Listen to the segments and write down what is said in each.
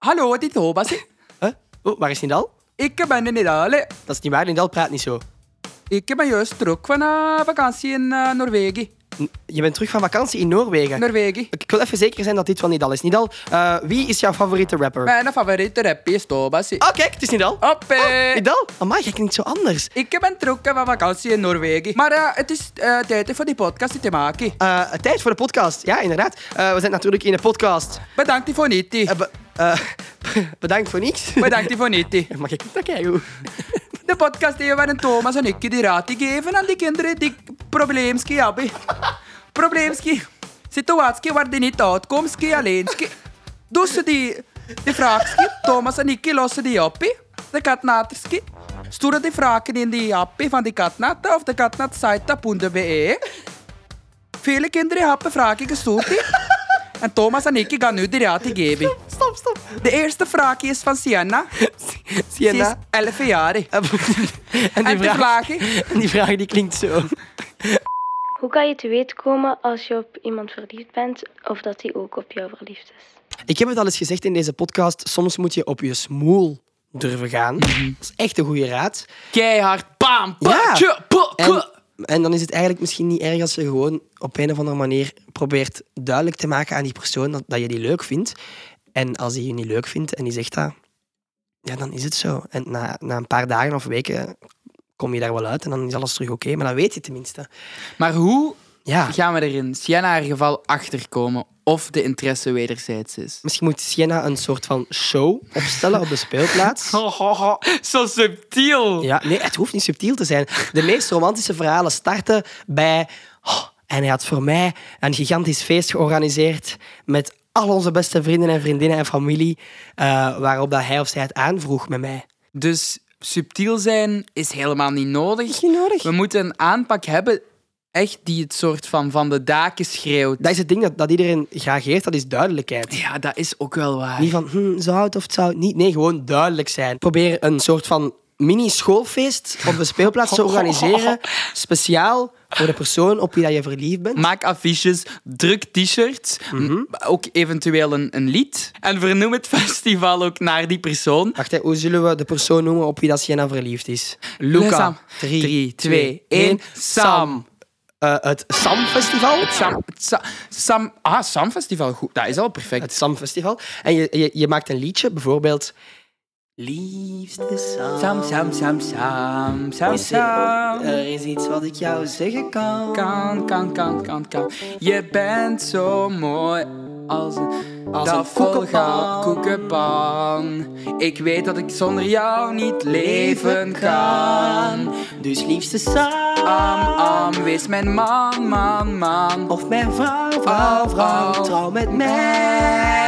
Hallo, dit is Hobasi. Huh? Oh, waar is Nindal? Ik ben in Italië. Dat is niet waar, Nindal praat niet zo. Ik ben juist terug van eh, vakantie in eh, Noorwegen. N- Je bent terug van vakantie in Noorwegen. Noorwegen. Ik wil even zeker zijn dat dit van Nidal is. Nidal, eh, wie is jouw favoriete rapper? Mijn favoriete rap is Tobasi. Oh, kijk, het is Nidal. Hoppé. Nidal? Amai, jij klinkt zo anders. Ik ben terug van vakantie in Noorwegen. Maar eh, het is eh, tijd voor die podcast te maken. Eh, tijd voor de podcast. Ja, inderdaad. Eh, we zijn natuurlijk in de podcast. Bedankt voor niet. Eh, be- eh, bedankt voor niks. Bedankt voor niet. Mag ik dat kijken? hoe? De podcast die waarin Thomas en ik die raad die geven aan die kinderen die probleemski hebben. Probleemski. Situatie waar die niet uitkomt, alleenski. Dus die, die vraagski, Thomas en ik lossen die op. De katnaterski. Sturen die vragen in die app van die katnat of de katnatsite.be. Vele kinderen hebben vragen gestuurd. En Thomas en ik gaan nu die raad geven. Stop, stop. De eerste vraag is van Sienna. Ze is Sienna. 11 jaar. En En die, de vraag, vraag? en die vraag die klinkt zo. Hoe kan je te weten komen als je op iemand verliefd bent of dat die ook op jou verliefd is? Ik heb het al eens gezegd in deze podcast. Soms moet je op je smoel durven gaan. Dat is echt een goede raad. keihard. Bam, pa, Ja. tje, pa, En, kwa. en dan is het eigenlijk misschien niet erg als je gewoon op een of andere manier probeert duidelijk te maken aan die persoon dat, dat je die leuk vindt. En als die je niet leuk vindt en die zegt dat, ja, dan is het zo. En na, na een paar dagen of weken kom je daar wel uit en dan is alles terug oké. maar dan weet je tenminste. Maar hoe Ja, gaan we er in Sienna haar geval achterkomen of de interesse wederzijds is? misschien moet Sienna een soort van show opstellen op de speelplaats. Zo subtiel. Ja, nee, het hoeft niet subtiel te zijn. De meest romantische verhalen starten bij. "Oh, en hij had voor mij een gigantisch feest georganiseerd met al onze beste vrienden en vriendinnen en familie, eh, waarop dat hij of zij het aanvroeg met mij. Dus subtiel zijn is helemaal niet nodig. niet nodig. We moeten een aanpak hebben echt die het soort van van de daken schreeuwt. Dat is het ding dat, dat iedereen graag heeft, dat is duidelijkheid. Ja, dat is ook wel waar. Niet van, hm, zou het of het zou het niet. Nee, gewoon duidelijk zijn. Probeer een soort van mini-schoolfeest op de speelplaats te organiseren, speciaal voor de persoon op wie dat je verliefd bent. Maak affiches, druk t-shirts, m- Mhm. ook eventueel een, een lied. En vernoem het festival ook naar die persoon. Wacht, hè, hoe zullen we de persoon noemen op wie dat Sienna verliefd is? Sam. Drie, Drie, twee, twee, één. één. Sam. Eh, het Sam Festival. Het Sam, het Sa- Sam, ah, Sam Festival, goed. Dat is al perfect. Het Sam Festival. En je, je, je maakt een liedje, bijvoorbeeld. Liefste Sam. Sam, Sam, Sam, Sam, Sam, is Sam. Er, er is iets wat ik jou zeggen kan. Kan, kan, kan, kan, kan. Je bent zo mooi als een, Als een koekenpan. volga- koekenpan. Ik weet dat ik zonder jou niet leven kan. Dus liefste Sam. Am, am, wees mijn man, man, man. Of mijn vrouw, vrouw, vrouw, Oh. trouw met mij.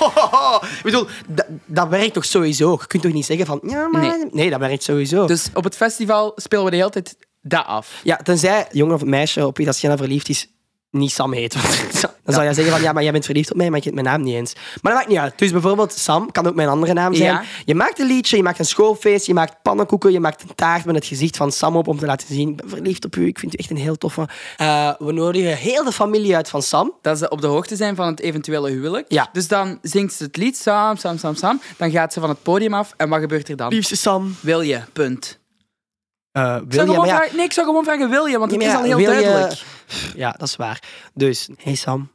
Oh, Ik bedoel, dat, dat werkt toch sowieso? Je kunt toch niet zeggen van, ja, maar... Nee, Nee. dat werkt sowieso. Dus op het festival spelen we de hele tijd dat af. Ja, tenzij jongen of meisje op wie dat Sienna verliefd is, niet Sam heet. Want dan zou jij zeggen van, ja, maar jij bent verliefd op mij, maar je kent mijn naam niet eens. Maar dat maakt niet uit. Dus bijvoorbeeld Sam kan ook mijn andere naam zijn. Ja. Je maakt een liedje, je maakt een schoolfeest, je maakt pannenkoeken, je maakt een taart met het gezicht van Sam op om te laten zien, ik ben verliefd op u, ik vind u echt een heel toffe... Eh, we nodigen heel de familie uit van Sam. dat ze op de hoogte zijn van het eventuele huwelijk. Ja. Dus dan zingt ze het lied Sam, Sam, Sam, Sam. Dan gaat ze van het podium af. En wat gebeurt er dan? Liefste Sam. Wil je, punt. Eh, Ik zou wil je, gewoon maar ja, vragen- nee, ik zou gewoon vragen wil je, want het maar is ja, al heel wil je- duidelijk. ja, dat is waar. Dus, hey Sam,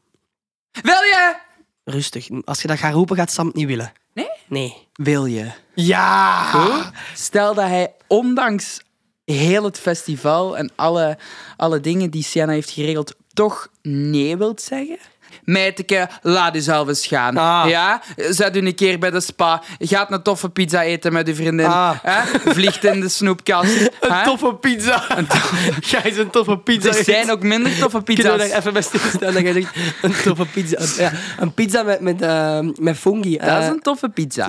Wil je? rustig. Als je dat gaat roepen, gaat Sam het niet willen. Nee? Nee. Wil je. Ja! Stel dat hij ondanks heel het festival en alle, alle dingen die Sienna heeft geregeld, toch nee wilt zeggen? Meiteke, laat jezelf eens gaan. Ah. Ja? Zet u een keer bij de spa. Gaat een toffe pizza eten met uw vriendin. Ah. Hè? Vliegt in de snoepkast. Hè? toffe pizza. Jij is een toffe pizza. Er zijn ook minder toffe Kunnen we pizza's. daar even bij stilstaan? Dat jij zegt, een toffe pizza. Ja, een pizza met, met, eh, met fungi. Dat is een toffe pizza.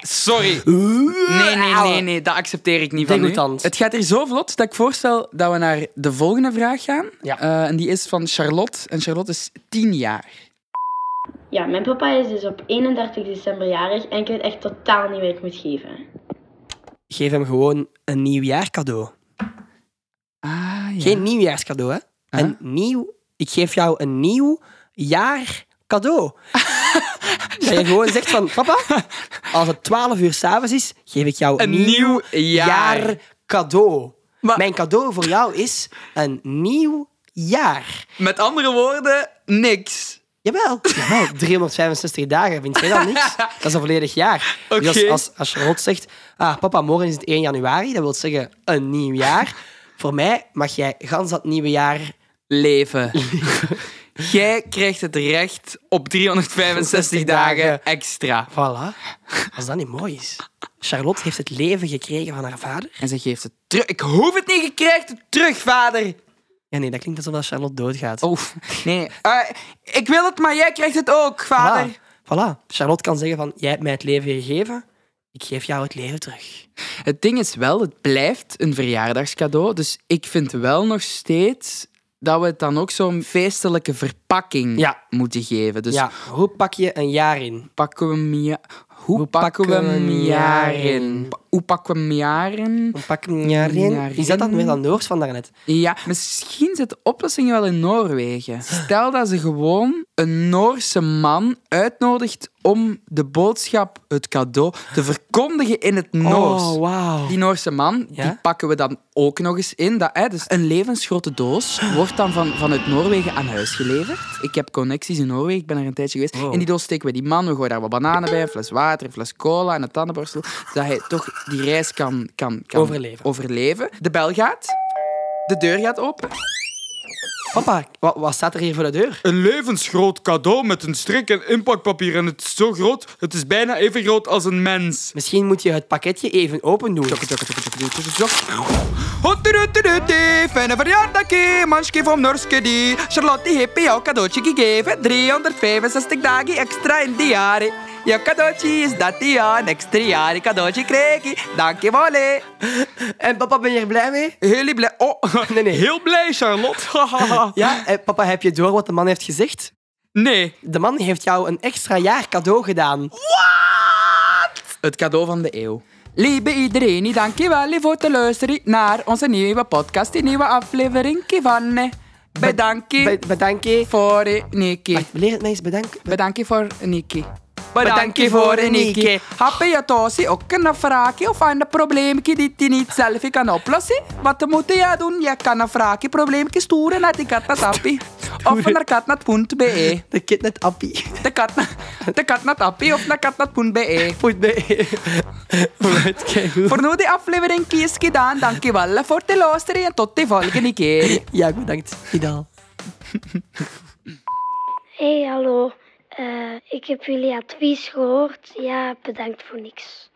Sorry. Nee, nee, nee, nee, dat accepteer ik niet van Degoutant. u. Het gaat hier zo vlot dat ik voorstel dat we naar de volgende vraag gaan. Ja. Eh, en die is van Charlotte. En Charlotte is tien jaar. Ja, mijn papa is dus op 31 december jarig en ik weet echt totaal niet wat ik moet geven. Geef hem gewoon een nieuwjaarcadeau. Ah, ja. Geen nieuwjaarscadeau, hè? Een nieuw... Ik geef jou een nieuw jaar cadeau. Dat je gewoon zegt van, papa, als het 12 uur s'avonds is, geef ik jou Een nieuw jaar. cadeau. Maar- Mijn cadeau voor jou is een nieuw jaar. Met andere woorden, niks. Jawel, jawel 365 dagen, vind jij dat niks? Dat is een volledig jaar. Dus als, Oké. als, als Charlotte zegt, ah, papa, morgen is het 1 januari, dat wil zeggen een nieuw jaar. Voor mij mag jij gans dat nieuwe jaar Leven. Jij krijgt het recht op 365 dagen dagen. extra. Voilà. Als dat niet mooi is. Charlotte heeft het leven gekregen van haar vader. En ze geeft het terug. Ik hoef het niet, je krijgt het terug, vader. Ja, nee, dat klinkt alsof dat Charlotte doodgaat. Oef. Ah. Nee. nee. Eh, ik wil het, maar jij krijgt het ook, vader. voilà. voilà. Charlotte kan zeggen van, jij hebt mij het leven gegeven, ik geef jou het leven terug. Het ding is wel, het blijft een verjaardagscadeau. Dus ik vind wel nog steeds dat we het dan ook zo'n feestelijke verpakking Ja. moeten geven. Dus ja, hoe pak je een jaar in? pakken we hem ja- Hoe, pakken we hem jaar in? Pa- Hoe pakken we hem jaar in? Hoe pak je een jaar in? Jaar Is dat dan in? weer dat Noors van daarnet? Ja, misschien zit de oplossing wel in Noorwegen. Stel dat ze gewoon een Noorse man uitnodigt om de boodschap, het cadeau, te verkondigen in het Noors. Oh, wauw. Die Noorse man, die Ja? pakken we dan ook nog eens in. Dat, hè, dus een levensgrote doos wordt dan van, vanuit Noorwegen aan huis geleverd. Ik heb connecties in Noorwegen, ik ben er een tijdje geweest. Wow. In die doos steken we die man, we gooien daar wat bananen bij, een fles water, een fles cola en een tandenborstel. Zodat hij toch die reis kan, kan, kan Overleven. overleven. De bel gaat, de deur gaat open. Papa, wat, wat staat er hier voor de deur? Een levensgroot cadeau met een strik en inpakpapier. En het is zo groot, het is bijna even groot als een mens. Misschien moet je het pakketje even open doen. Hotteruturuti, fijne verjaardagje, manske van Norske die. Charlotte die heeft jou cadeautje gegeven, 365 dagen extra in die jaren. Jouw cadeautje is dat die jaar, een extra jaar cadeautje kreeg je. Dankjewel hè. En papa, ben je er blij mee? Heel blij. Oh, Nee, nee. Heel blij, Charlotte. Hahaha. Ja, eh, papa, heb je door wat de man heeft gezegd? nee, De man heeft jou een extra jaar cadeau gedaan. Het cadeau van de eeuw. Lieve iedereen, dankjewel voor het luisteren naar onze nieuwe podcast, die nieuwe aflevering van. Bedankt Be- Bedankt je. voor Nicky. Wacht, leer het mij eens bedanken. Bedankt voor Nikki. Bedankt je voor Nikki. Heb je thuis ook een vraagje of een probleempje die je niet zelf kan oplossen? Wat moet je doen? Je kan een vraagje, probleempje sturen naar de katnatappie. Of naar katnat.be. De kitnet-appie. De katna- de katnatappie of naar katnat.be. Goed, nee. Vooruit, kijk Voor nu de aflevering kies gedaan. Dankjewel voor het luisteren en tot de volgende keer. Ja, bedankt. Idal. Hé, hey, hallo. Eh, ik heb jullie advies gehoord. Ja, bedankt voor niks.